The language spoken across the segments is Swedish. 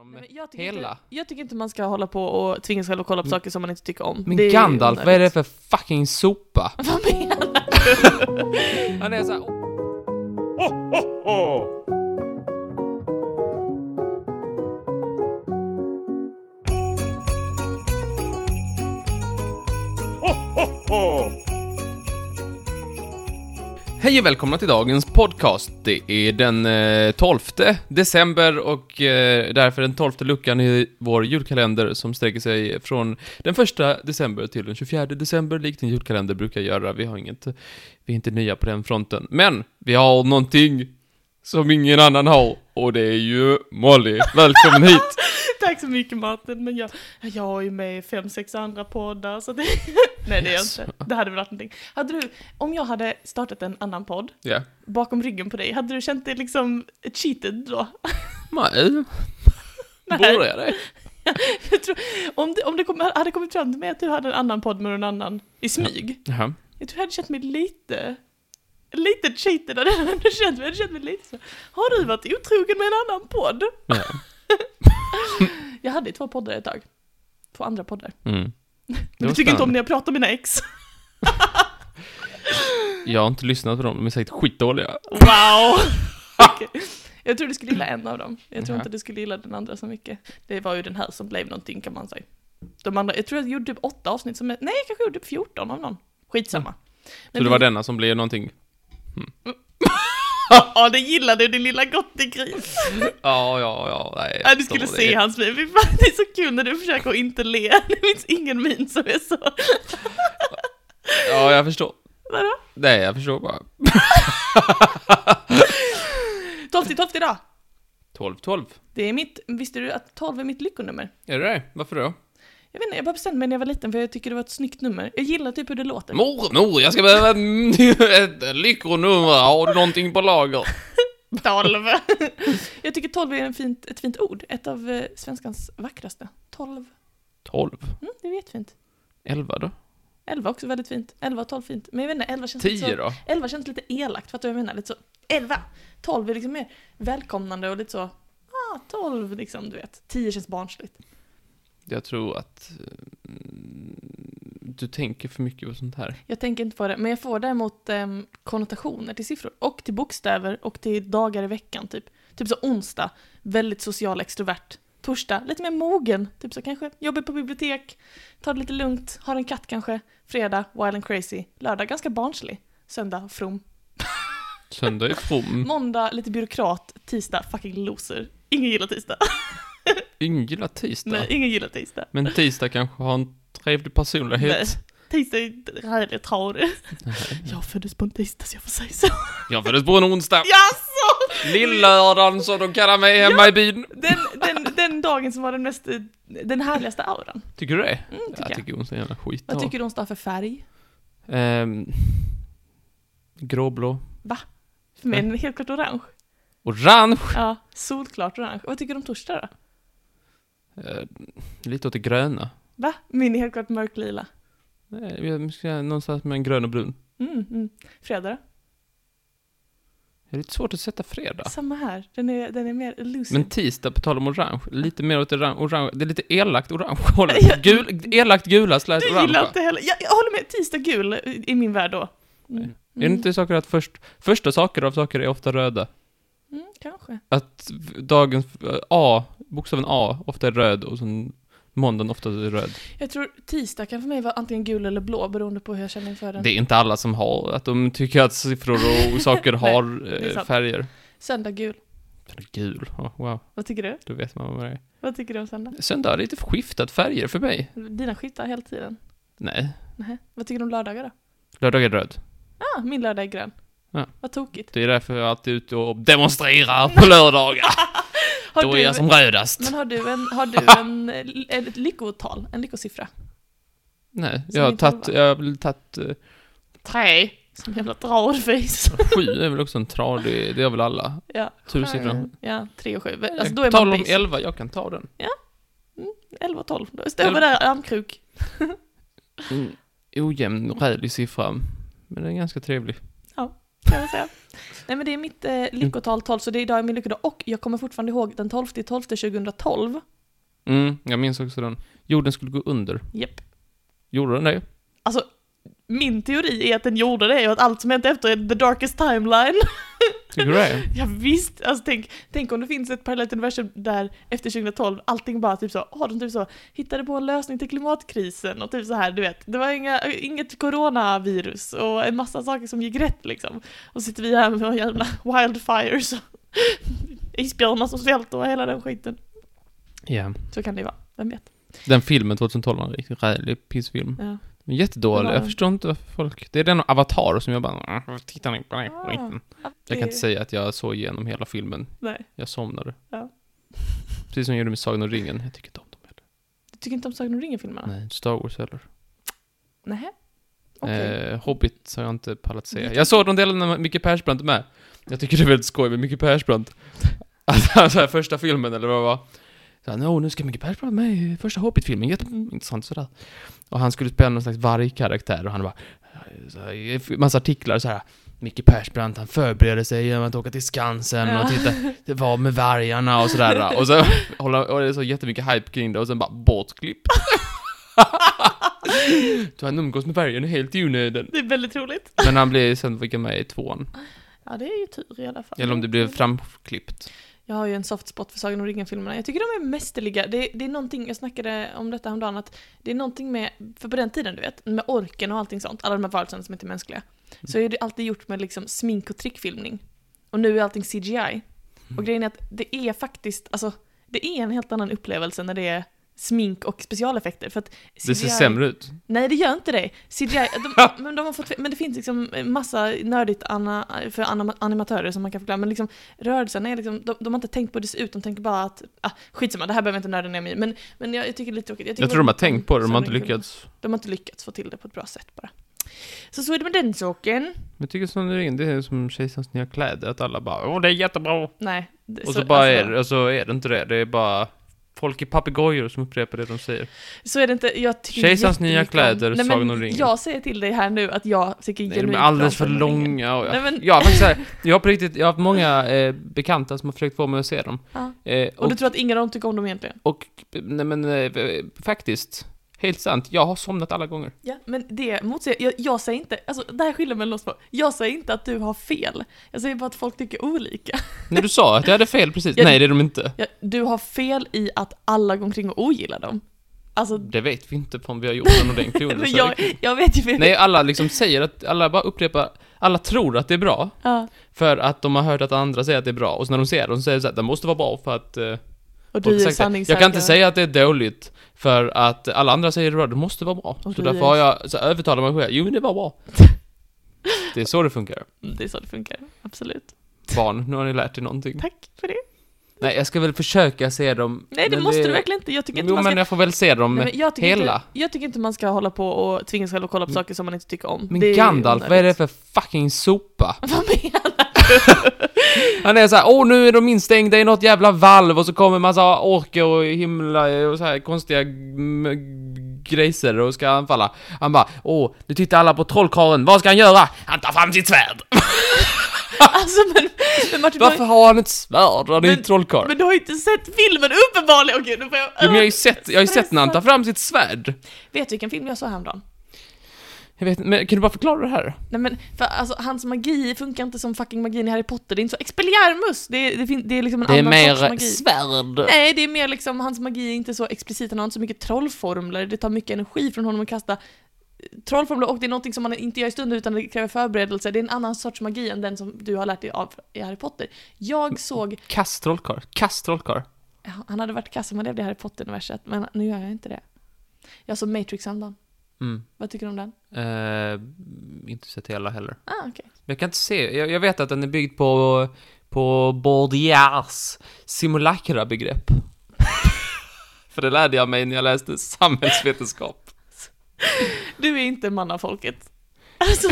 om Men jag tycker hela. Inte, jag tycker inte man ska hålla på och tvinga sig själv att kolla på saker som man inte tycker om. Men Det är ju Gandalf, vad är det onödigt. för fucking sopa? Vad menar du? Han är oh. såhär... Hej och välkomna till dagens podcast. Det är den eh, 12 december och eh, därför den 12 luckan i vår julkalender som sträcker sig från den 1 december till den 24 december, likt en julkalender brukar göra. Vi har inget, vi är inte nya på den fronten. Men vi har någonting som ingen annan har och det är ju Molly. Välkommen hit! Tack så mycket Martin, men jag, jag är ju med i fem, sex andra poddar så det... Nej det är jag Yes. inte. Det hade väl varit någonting. Hade du, om jag hade startat en annan podd Ja. bakom ryggen på dig, hade du känt dig liksom cheated då? Nej. Nej. Borde jag det? Jag tror, om det, om det kom, hade kommit fram till mig att du hade en annan podd med någon annan i smyg, Jaha. jag tror jag hade känt mig lite... Lite cheated hade jag ändå känt mig, jag hade känt mig lite så. Har du varit otrogen med en annan podd? Ja. Jag hade ju två poddar ett tag. Två andra poddar. Mm. Det Men var du tycker inte om spännande. när jag pratar om mina ex. Jag har inte lyssnat på dem, de är säkert skitdåliga. Wow! Okej. Jag tror du skulle gilla en av dem. Jag tror Mhm. inte du skulle gilla den andra så mycket. Det var ju den här som blev någonting kan man säga. De andra, jag tror jag gjorde typ åtta avsnitt som, är- nej jag kanske gjorde typ 14 av någon. Skitsamma. Så det var denna som blev någonting? Ja, det gillade du din lilla gris. Ja, ja, ja, nej. Ja, du skulle så se det- hans min. Fy fan, det är så kul när du försöker att inte le. Det finns ingen min som är så. Ja, jag förstår. Vadå? Nej, jag förstår bara. Tolfte, tolfte idag. 12, 12. Det är mitt, visste du att 12 är mitt lyckonummer? Är det det? Varför då? Jag vet inte, jag bara bestämde mig när jag var liten för jag tycker det var ett snyggt nummer. Jag gillar typ hur det låter. Mormor, jag ska behöva ett- ett lyckonummer. Har du någonting på lager? 12. jag tycker 12 är en fint, ett fint ord. Ett av eh, svenskans vackraste. 12. 12. Mm, det är jättefint. 11 då? 11 också väldigt fint. 11 och 12 fint. Men jag vet inte, 11 känns lite 10 så... då? 11 känns lite elakt, fattar du vad jag menar? Lite så... 11! 12 är liksom mer välkomnande och lite så... Ah, 12 liksom, du vet. 10 känns barnsligt. Jag tror att mm, du tänker för mycket på sånt här. Jag tänker inte på det, men jag får däremot ehm, konnotationer till siffror. Och till bokstäver och till dagar i veckan, typ. Typ så onsdag, väldigt social extrovert. Torsdag, lite mer mogen. Typ så kanske jobbar på bibliotek, tar det lite lugnt, har en katt kanske. Fredag, wild and crazy. Lördag, ganska barnslig. Söndag, from. Söndag är from. Måndag, lite byråkrat. Tisdag, fucking loser. Ingen gillar tisdag. Ingen gillar tisdag. Nej, ingen gillar tisdag. Men tisdag kanske har en trevlig personlighet. Tisdag är härligt tradig. Jag föddes på en tisdag så jag får säga så. Jag föddes på en onsdag. Jaså? Lillördagen så de kallar mig hemma i byn. Den, den, den dagen som var den mest, eh, den härligaste auran. Tycker du det? Mm, tycker jag jag. tycker onsdag är en jävla skit. Vad tycker du onsdag har för färg? Ehm, gråblå. För mig är den helt klart orange. Orange. Ja, solklart orange. Vad tycker du om torsdag då? Eh, lite åt det gröna. Va? Min är helt klart mörklila. Nej, Jag ska någonstans mellan grön och brun. Mm, mm. Fredag då? Det är lite svårt att sätta fredag. Samma här. Den är, den är mer lucid. Men tisdag, på tal om orange, lite mer åt det orange, orange det är lite elakt orange hållet. Ja. Gul, elakt gula slash du orange. gillar inte heller... Jag, jag håller med, tisdag gul i min värld då. Mm. Nej. Är det inte saker att först, första saker av saker är ofta röda? Mm, kanske. Att dagens eh, A, bokstaven A, ofta är röd och sen måndagen ofta är röd. Jag tror tisdag kan för mig vara antingen gul eller blå beroende på hur jag känner inför den. Det är inte alla som har, att de tycker att siffror och saker har är eh, sant. färger. Söndag gul. Gul, oh, wow, Vad tycker du? då vet man vad det är. Vad tycker du om söndag? Söndag är lite skiftat färger för mig. Dina skiftar hela tiden. Nej, Nähä. Vad tycker du om lördagar då? lördag är röd. Ah, min lördag är grön. Ja. Vad tokigt. Det är därför jag alltid är ute och demonstrerar på lördagar. Har Då du, är jag som rödast. Men har du en, har du en, en, ett lyckotal, en lyckosiffra? Nej, Som jag har inte tagit, elva. jag har väl tagit eh, Tre. Som jävla dradfis. sju är väl också en tradig, det är väl alla. Ja. Tursiffran. Ja, tre och sju. Alltså då På är tal man om bis. elva, jag kan ta den. Elva och tolv. Då står man där armkrok. Mm. En ojämn, rälig siffra. Men den är ganska trevlig. Ja. kan jag säga. Nej men det är mitt Mm. eh, lyckotal 12, så det är idag är min lyckodag. Och jag kommer fortfarande ihåg den 12 i 12 2012. Mm, jag minns också den. Jorden skulle gå under. Japp. Gjorde den det? Alltså, min teori är att den gjorde det och att allt som hänt efter är the darkest timeline. Tycker du det? Ja, visst, alltså tänk, tänk om det finns ett parallellt universum där efter 2012 allting bara typ så, åh, de typ så hittade på en lösning till klimatkrisen och typ så här, du vet. Det var inga, inget coronavirus och en massa saker som gick rätt liksom. Och så sitter vi här med våra jävla wildfires och isbjörnar som svälter och hela den skiten. Ja. Så kan det ju vara, vem vet? Den filmen 2012 var en riktigt rälig pissfilm. Ja. Men Jättedålig. Det var Jag den. förstår inte varför folk... Det är den och Avatar som jag bara... "Ah, Titta nu på den här Ah, skiten." att Jag det- kan inte säga att jag såg igenom hela filmen. Nej, Jag somnade. Ja. Precis som jag gjorde med Sagan om ringen. Jag tycker inte om dem heller. du tycker inte om Sagan om ringen-filmerna? Nej, Star Wars heller. Nej. Okej. Eh, Hobbit har jag inte pallat se. Det- Jag såg de delarna när Micke Persbrandt är med. Jag tycker det är väldigt skoj med Micke Persbrandt. Alltså, han så här, första filmen eller vad det var. Så han, "Åh, nu ska Micke Persbrandt med i första Hobbit-filmen, jätteintressant sådär. Och han skulle spela någon slags vargkaraktär och han bara... Så här, i massa artiklar så här. Micke Persbrandt, han förbereder sig genom att åka till Skansen Ja. och titta, det var med vargarna och sådär. Och så håller, och det är så jättemycket hype kring det och sen bara bortklippt. Så han umgås med vargen helt i onödan. Det är väldigt roligt. Men han blir sen fick jag med i tvåan. Ja, det är ju tur i alla fall. Eller om det blev framklippt. Jag har ju en soft spot för Sagan om ringen-filmerna. Jag tycker de är mästerliga. Det, det är någonting, jag snackade om detta häromdagen, att det är någonting med, för på den tiden du vet, med orken och allting sånt, alla de här varelserna som inte är mänskliga, Mm. så är det alltid gjort med liksom smink och trickfilmning. Och nu är allting CGI. Mm. Och grejen är att det är faktiskt, alltså, det är en helt annan upplevelse när det är smink och specialeffekter. För att CGI, Det ser sämre ut. Nej, det gör inte det. CGI, de, men, de har fått, men det finns liksom massa nördigt ana, för anima- animatörer som man kan förklara, men liksom rörelserna är liksom, de, de har inte tänkt på hur det ser ut, de tänker bara att, ah, skitsamma, det här behöver jag inte nörda ner mig i, men, men jag, jag tycker det är lite tråkigt. tycker Jag tror de har man- tänkt på det, de har inte Sorry, Gunnar. lyckats. De har inte lyckats få till det på ett bra sätt bara. Så så är det med den saken. Men jag tycker som det är, det är som Kejsarens nya kläder, att alla bara åh det är jättebra. Nej. det- Och så, bara alltså- är det, och så är det inte det, det är bara folk i papegojor som upprepar det de säger. Så är det inte, jag tycker Kejsarens nya jättemycket om- kläder, Nej, men Sagan om ringen. Jag säger till dig här nu att jag tycker Nej, de är genuint alldeles för bra om Sagan om ringen. långa och... Nej, men- Jag, har faktiskt så här, jag har på riktigt, jag har haft många eh, bekanta som har försökt få mig att se dem. Ja. Eh, Och, du tror att ingen av dem tycker om dem egentligen? och, nej men eh, faktiskt, helt sant, jag har somnat alla gånger. Ja, men det motsäger jag. Jag säger inte, alltså det här skiljer mellan oss två. Jag säger inte att du har fel. Jag säger bara att folk tycker olika. När du sa att jag hade fel precis, Ja, nej det är de inte. Ja, du har fel i att alla går omkring och ogillar dem. Alltså, Det vet vi inte förrän vi har gjort en ordentlig men undersökning. jag, jag vet ju fel. Nej, alla liksom säger att, alla bara upprepar, alla tror att det är bra, Ja, för att de har hört att andra säger att det är bra, och så när de ser det så säger de så här, det måste vara bra för att... eh, och folk har du är sagt det." sanningssäker. jag kan inte säga att det är dåligt, för att alla andra säger det är bra, det måste vara bra. Och så du därför är- har jag, så övertalar mig själv, jo men det var bra. det är så det funkar. Mm, Det är så det funkar, absolut. Barn, nu har ni lärt er någonting. Tack för det. Nej, jag ska väl försöka se dem. Nej, det men måste du verkligen inte. Jag tycker inte Jo, man ska... men jag får väl se dem. Nej, men jag tycker hela. Mm. Inte, jag tycker inte man ska hålla på och tvinga sig själv att kolla på saker som man inte tycker om. Men Det är ju Gandalf, vad är det onödigt. för fucking sopa? Vad menar du? Han är såhär, åh nu är de instängda i något jävla valv och så kommer massa orker och himla och så här konstiga mm, grejser och ska anfalla. Han bara, åh, nu tittar alla på trollkarlen, vad ska han göra? Han tar fram sitt svärd! Alltså men, men Martin, du har- Varför har han ett svärd? Han är ju Men- en trollkarl. men Äh, du har ju inte sett filmen uppenbarligen! Åh gud, nu får jag... Jo, men jag har ju sett, jag har ju sett när han tar fram sitt svärd. Vet du vilken film jag såg häromdagen? Jag vet men kan du bara förklara det här? Nej men, för alltså hans magi funkar inte som fucking magin i Harry Potter, det är inte så expelliarmus! Det är, det fin- det är liksom en Det är annan sorts mer eh, magi. svärd. Nej, det är mer liksom, hans magi är inte så explicit, han har inte så mycket trollformler, det tar mycket energi från honom att kasta eh, trollformler och det är någonting som man inte gör i stunden utan det kräver förberedelse, det är en annan sorts magi än den som du har lärt dig av i Harry Potter. Mm. Jag såg, Kast trollkarl, kast trollkarl. han hade varit kass om han levde i Harry Potter-universet, men nu gör jag inte det. Jag såg Matrix häromdagen, Mm. vad tycker du om den? Eh, inte sett hela heller. Ah, okej. Jag kan inte se, jag, jag vet att den är byggd på, på Bourdieu's simulacra-begrepp. För det lärde jag mig när jag läste samhällsvetenskap. Du är inte en man av folket. Alltså,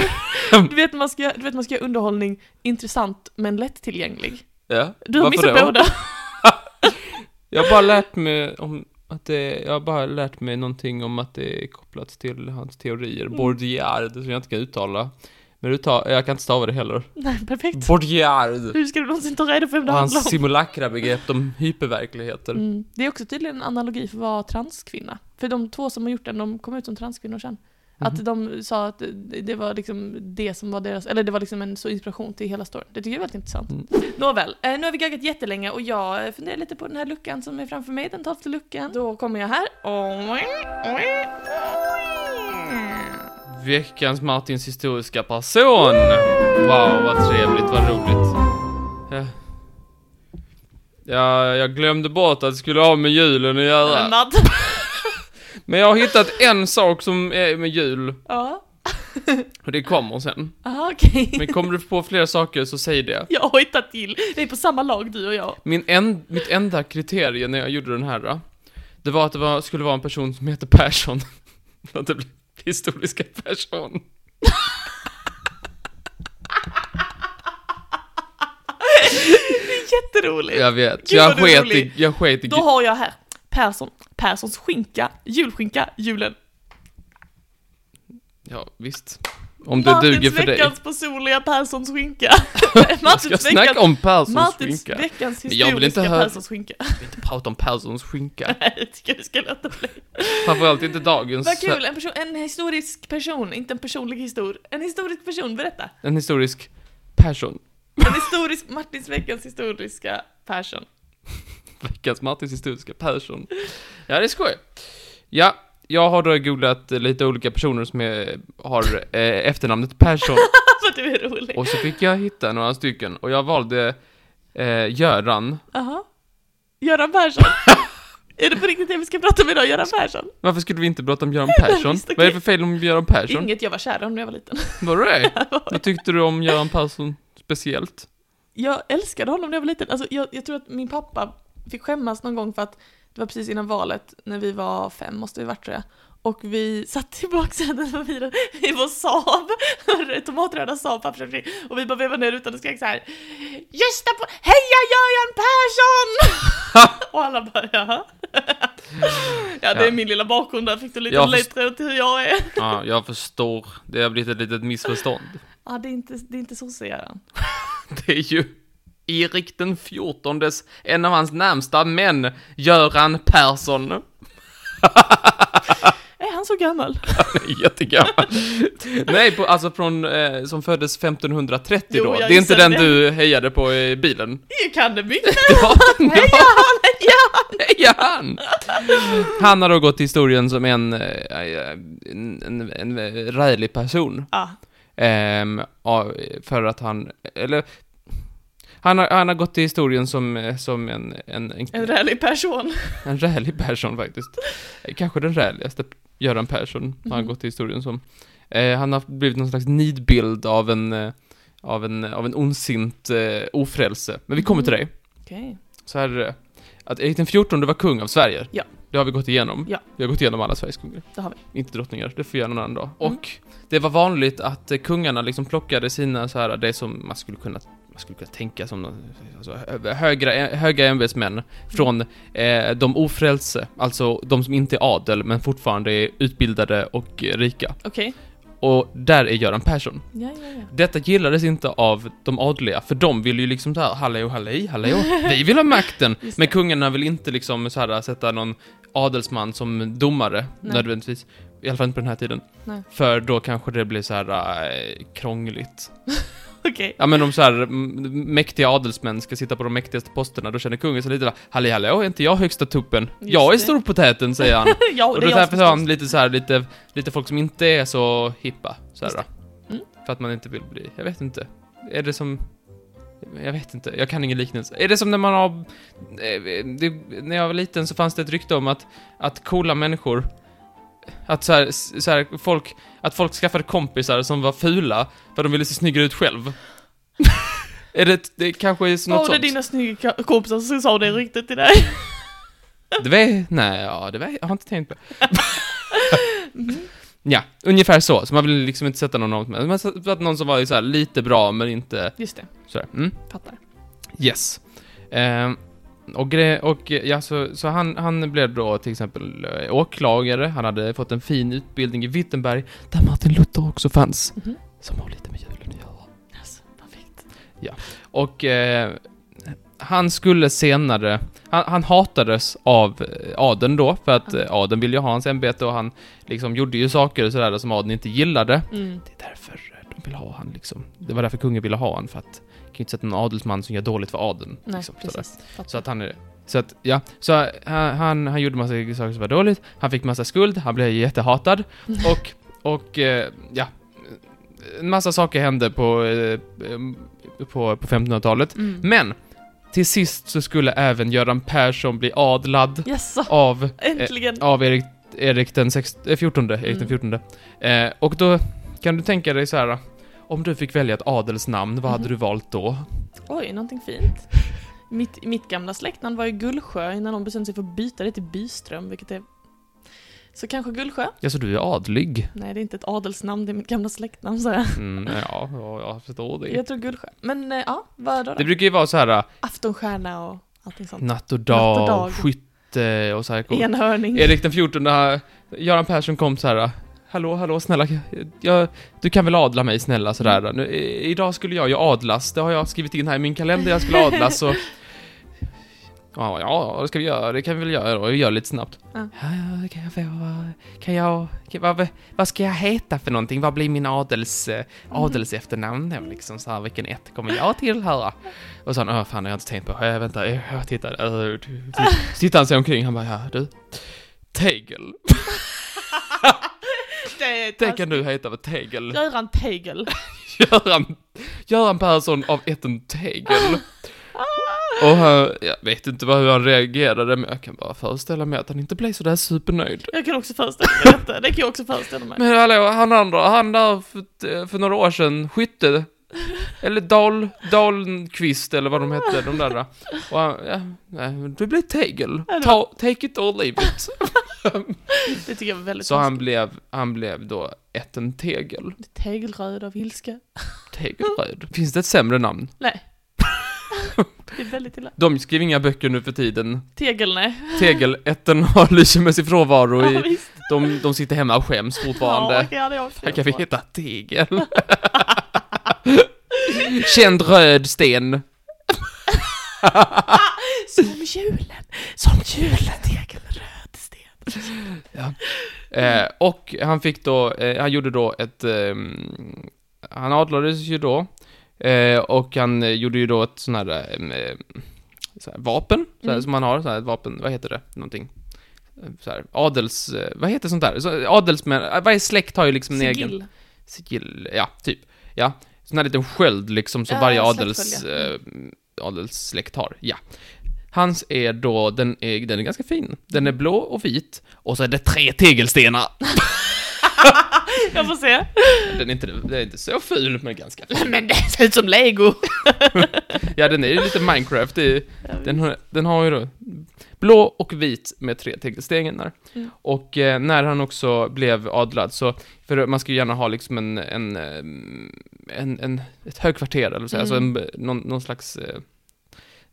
du vet man ska, du vet man ska göra underhållning intressant men lättillgänglig. Ja, Du har missat båda. Jag har bara lärt mig om att det, jag har bara lärt Mm. mig någonting om att det är kopplat till hans teorier, Bourdieu, det som jag inte kan uttala. När du tar, jag kan inte stava det heller. Nej, perfekt. Bordiard. Hur ska du någonsin ta reda på vem det Och handlar hans om? simulakra begrepp om hyperverkligheter. Mm. Det är också tydligen en analogi för vad transkvinna. För de två som har gjort den, de kom ut som transkvinnor sen. Att de sa att det det var liksom det som var deras, eller det var liksom en så inspiration till hela storyn. Det tycker jag är väldigt intressant. Mm. Nåväl, eh, nu har vi gaggat jättelänge och jag eh, funderar lite på den här luckan som är framför mig, den tolfte luckan. Då kommer jag här. Veckans Martins historiska person! Wow, vad trevligt, vad roligt. Ja. Ja, jag glömde bort att det skulle ha med julen att göra. Annat. Men jag har hittat en sak som är med jul, Ja, och det kommer sen. aha okej. Men kommer du på fler saker så säg det. Jag hojtar till. Det är på samma lag du och jag. Min en, mitt enda kriterie när jag gjorde den här, då, det var att det var, skulle vara en person som heter Persson. Att det blir historiska person. Jätteroligt. Jag vet. Gud, Jag vad du är sket i, rolig. jag sket i Då har jag här Persson, Perssons skinka, julskinka, julen. Ja, visst. Om det duger för dig. veckans personliga Perssons skinka. Jag ska snacka om Perssons Martins skinka. veckans Men jag vill inte historiska höra- Perssons skinka. Jag vill inte prata om Perssons skinka. Nej, jag tycker du ska låta bli. Framförallt inte dagens. eh, Vad kul, en, person, en historisk person, inte en personlig historia. En historisk person, berätta. En historisk person. En historisk, Martins veckans historiska Persson. Veckans Martins historiska person. Ja, det är skoj. Ja, jag har då googlat eh, lite olika personer som är, har eh, efternamnet Persson. Vad Alltså, du är rolig. Och så fick jag hitta några stycken. Och jag valde eh, Göran. Jaha. Göran Persson. är det på riktigt det vi ska prata om idag, Göran Persson? Varför skulle vi inte prata om Göran Persson? visst, okej. Vad är det för fel om Göran Persson? Inget jag var kär om när jag var liten. Var det det? Vad tyckte du om Göran Persson speciellt? jag älskade honom när jag var liten. Alltså, jag, jag tror att min pappa fick skämmas någon gång för att det var precis innan valet, när vi var fem måste vi varit tror jag. Och vi satt i baksätet på bilen i vår Saab, tomatröda Saab pappsfabrik. Och vi bara vevade ner rutan och skrek så här Gösta på, heja Göran Persson! och alla bara jaha. ja det är Ja. min lilla bakgrund där, fick du lite Jag ledtråd till hur jag är. Ja, jag förstår. Det har blivit ett litet missförstånd. Ja det är inte, det är inte sosse Göran. Det är ju Erik den fjortondes, en av hans närmsta män, Göran Persson. Är han så gammal? Han är Jättegammal. Nej, på, alltså från, eh, som föddes 1530 Jo, då. jag Det är inte gissade den du hejade på i bilen. Jag kan det mycket! Det var, det Heja var, han, heja heja han! Han har då gått till historien som en, eh, eh, en, en, en rälig person. Ja, Ehm, ja, för att han, eller, han har, han har gått i historien som, eh, som en, en, en, en en, rälig person. rälig Persson faktiskt. Eh, Kanske den räligaste Göran Persson har han Mhm. gått i historien som. Eh, han har blivit någon slags nidbild av en, eh, av en, av en ondsint eh, ofrälse. Men vi kommer Mhm. till dig. Okej. Så här är det. Att Erik den XIV var kung av Sverige. Ja. Det har vi gått igenom. Ja. Vi har gått igenom alla Sveriges kungar. Det har vi. Inte drottningar, det får vi göra någon annan dag. Mm. Och det var vanligt att eh, kungarna liksom plockade sina så här, det som man skulle kunna, man skulle kunna tänka som någon- alltså, hö- högra, höga ämbetsmän från eh, de ofrälse, alltså de som inte är adel men fortfarande är utbildade och eh, rika. Okej. Och där är Göran Persson. Ja, ja, ja. Detta gillades inte av de adliga, för de ville ju liksom såhär, hallå, hallå, hallå, vi vill ha makten! Just Men det. kungarna vill inte liksom så här sätta någon adelsman som domare, Nej. nödvändigtvis. I alla fall inte på den här tiden. Nej. För då kanske det blir så här eh, krångligt. Okej. Ja men om så här m- mäktiga adelsmän ska sitta på de mäktigaste posterna, då känner kungen sig lite va, hallå, hallå, är inte jag högsta tuppen? Just jag är det. storpotäten, säger han. Ja, Och det då är jag därför som tar han förstås. lite så här, lite, lite folk som inte är så hippa. Så här, Just då. Mm. För att man inte vill bli, jag vet inte. Är det som, jag vet inte, jag kan ingen liknelse. Är det som när man har, eh, det, när jag var liten så fanns det ett rykte om att, att coola människor, att så här, s- så här, folk, att folk skaffade kompisar som var fula för de ville se snyggare ut själv. är det, det kanske är något Åh, det är sånt? dina snygga ka- kompisar som sa det ryktet till dig. Det var, nej, ja, det var, jag har inte tänkt på Mhm. Mm. Ja, ungefär så. Så man vill liksom inte sätta någon åt mig. Man satt någon som var ju så här lite bra, men inte Just det, sådär. Mm. fattar. Yes. Ehm, och gre- och eh, ja, så, så han, han blev då till exempel eh, åklagare, han hade fått en fin utbildning i Wittenberg, där Martin Luther också fanns. Mhm. Som har lite med julen Och eh, han skulle senare... Han, han hatades av eh, adeln då, för att eh, adeln ville ju ha hans ämbete och han liksom gjorde ju saker och sådär som adeln inte gillade. Mm. Det är därför de vill ha han liksom. Det var därför kungen ville ha han, för att... Jag kan ju inte sätta en adelsman som gör dåligt för adeln. Nej, liksom, sådär. precis. Fattar. Så att han är... Så att, ja. Så eh, han, han, han gjorde massa saker som var dåligt, han fick massa skuld, han blev jättehatad Mm. och, och, eh, ja. En massa saker hände på, eh, på, på 1500-talet. Mm. Men! Till sist så skulle även Göran Persson bli adlad Jaså, av, äntligen! av Erik, Erik den 16, eh, 14, Erik den Mm. 14. Eh, och då kan du tänka dig så här. Om du fick välja ett adelsnamn, vad hade Mhm. du valt då? Oj, någonting fint. Mitt, mitt gamla släktnamn var ju Gullsjö innan de bestämde sig för att byta det till Byström, vilket är... Så kanske Gullsjö? Ja, så du är adlig? Nej, det är inte ett adelsnamn, det är mitt gamla släktnamn, så jag. Mm, ja, ja, jag förstår det. jag tror Gullsjö. Men eh, ja, vad då? Det då? brukar ju vara så här Aftonstjärna och allting sånt. natt och Natt och dag, dag. skytte och så här. Enhörning. Erik den 14, Göran Persson kom så här. Hallå, hallå, snälla, jag, du kan väl adla mig snälla sådär. Nu, i- idag skulle jag ju adlas, det har jag skrivit in här i min kalender, jag skulle adlas så... Ja, ja, det ska vi göra, det kan vi väl göra då, vi gör lite snabbt. Ja. Ja, ja, det kan jag få, vad- kan jag, kan, vad, vad ska jag heta för någonting? Vad blir min adels, eh, adels efternamn då liksom så här, vilken ett kommer jag tillhöra? Och sen, åh fan, jag har inte tänkt på, äh, vänta, eh, jag tittar, äh, tittar han sig omkring, han bara, ja, du, Tegel. det, är Det kan du heta för Tegel. Göran Tegel. Göran, Göran Persson av ätten Tegel. Ah! Och han, jag vet inte vad- hur han reagerade, men jag kan bara föreställa mig att han inte blev sådär supernöjd. Jag kan också föreställa mig detta. Det kan jag också föreställa mig. Men hallå, han andra, han där för, för några år sedan, Skytte, eller Dal, Dahlqvist eller vad de hette, de där. Och han, ja, nej, du blev Tegel. Ta, take it or leave it. Det tycker jag var väldigt Så han blev, han blev då ätten Tegel. konstigt. Tegelröd av ilska. Tegelröd. Finns det ett sämre namn? Nej. det är väldigt illa. De skriver inga böcker nu för tiden. Tegel, nej. Tegelätten har lyser med sin frånvaro Ja, i... visst. De, de sitter hemma och skäms Ja, fortfarande. okej, ja, det är också Här kan vi jättebra. heta tegel. Känd röd sten. Som julen, som julen, tegelröd sten. Eh, och han fick då, eh, han gjorde då ett... ehm, han adlades ju då. Eh, och han eh, gjorde ju då ett sån här, ehm, eh, så här vapen, så här, Mm. som man har, så här, ett vapen, vad heter det? Någonting. Eh, Så här, adels... eh, Vad heter sånt där? Så, adelsmän... eh, Varje släkt har ju liksom en egen... Sigill. sigill, ja, typ. Ja, sån här liten sköld liksom som Ja, varje adels, släktskölja. eh, adelssläkt har. Ja. Hans är då, den är, den är ganska fin. Den är blå och vit, och så är det tre tegelstenar. Jag får se. Den är inte, den är inte så ful, men ganska fin. Men det ser ut som lego. Ja, den är ju lite Minecraft i, den, har- den har ju då blå och vit med tre tegelstenar. Mm. Och eh, när han också blev adlad så, för man ska ju gärna ha liksom en, en, eh, en, en ett högkvarter eller så, alltså en, Mm. någon, någon slags, eh,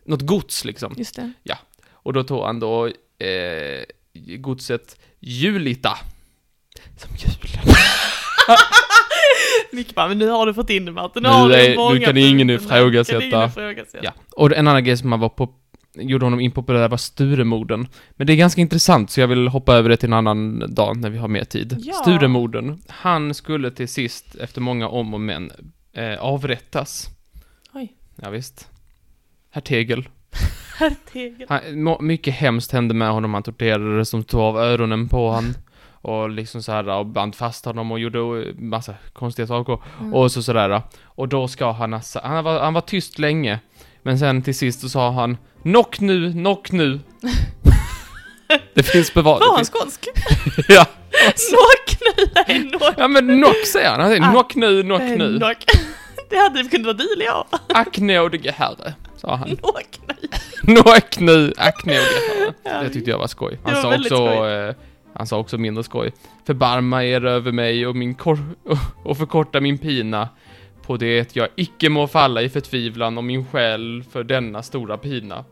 något gods liksom. Just det. Och då tog han då eh, godset Julita. Som julen. Micke bara, men nu har du fått in det Martin. Nu har är- nu du många kan ingen punkter. ifrågasätta. Nu kan ingen ifrågasätta. Ja. Och en annan grej som han var på, gjorde honom impopulär var Sturemorden. Men det är ganska intressant, så jag vill hoppa över det till en annan dag när vi har mer tid. Ja. Sturemorden. Han skulle till sist, efter många om och men, eh, avrättas. Oj. Ja, visst. Herr Tegel. Herr Tegel. Han, må- mycket hemskt hände med honom. Han torterades, som tog av öronen på honom. Och liksom så här, och band fast honom och gjorde eh, massa konstiga saker. Mm. Och så sådär. Och då ska han ha sa- han var, han var tyst länge. Men sen till sist så sa han Knock nu, knock nu. det finns bevarat. Var det han finns- skånsk? ja. Knock nu, nej knock. ja, men knock säger han. Han säger Ah. knock nu, knock Nej, nu. knock. Det hade kunnat vara du eller jag. Ack nådige herre, sa han. Knock nu. Knock nu, ack nådige herre. Ja, Det tyckte jag var skoj. Han Det var sa väldigt också, skoj. eh, han sa också mindre skoj. Förbarma er över mig och min kor- och förkorta min pina på det jag icke må falla i förtvivlan om min själ för denna stora pina.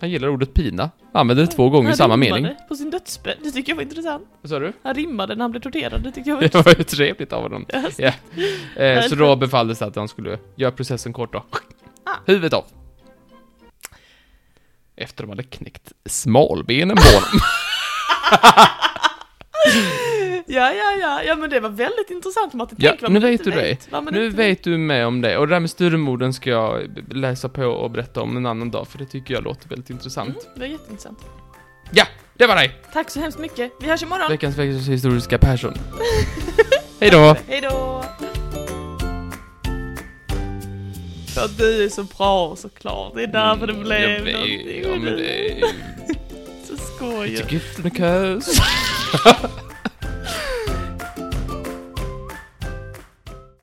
Han gillar ordet pina. Han använder det två gånger i Han samma rimmade mening. På sin dödsbädd. Det tycker jag var intressant. Vad sa du? Han rimmade när han blev torterad. Det tyckte jag var Det intressant. var ju trevligt av honom. Yes. Ja. Eh, så då befalldes det att han skulle göra processen kort då. Ah. Huvudet av. Efter de hade knäckt smalbenen på honom. Ja, ja, ja, ja men det var väldigt intressant Martin. Ja, Tänk vad nu man vet inte du det. Vad man nu inte vet du med om det. Och det där med styrmorden ska jag b- läsa på och berätta om en annan dag, för det tycker jag låter väldigt intressant. Mm, det var jätteintressant. Ja, det var det! Tack så hemskt mycket. Vi hörs imorgon. Veckans veckans historiska Persson. Hej då! Hej då! För att du är så bra såklart. Det är därför det blev Mm, Jag vet, någonting. ja, men det... Så skoj. It's a gift and a curse.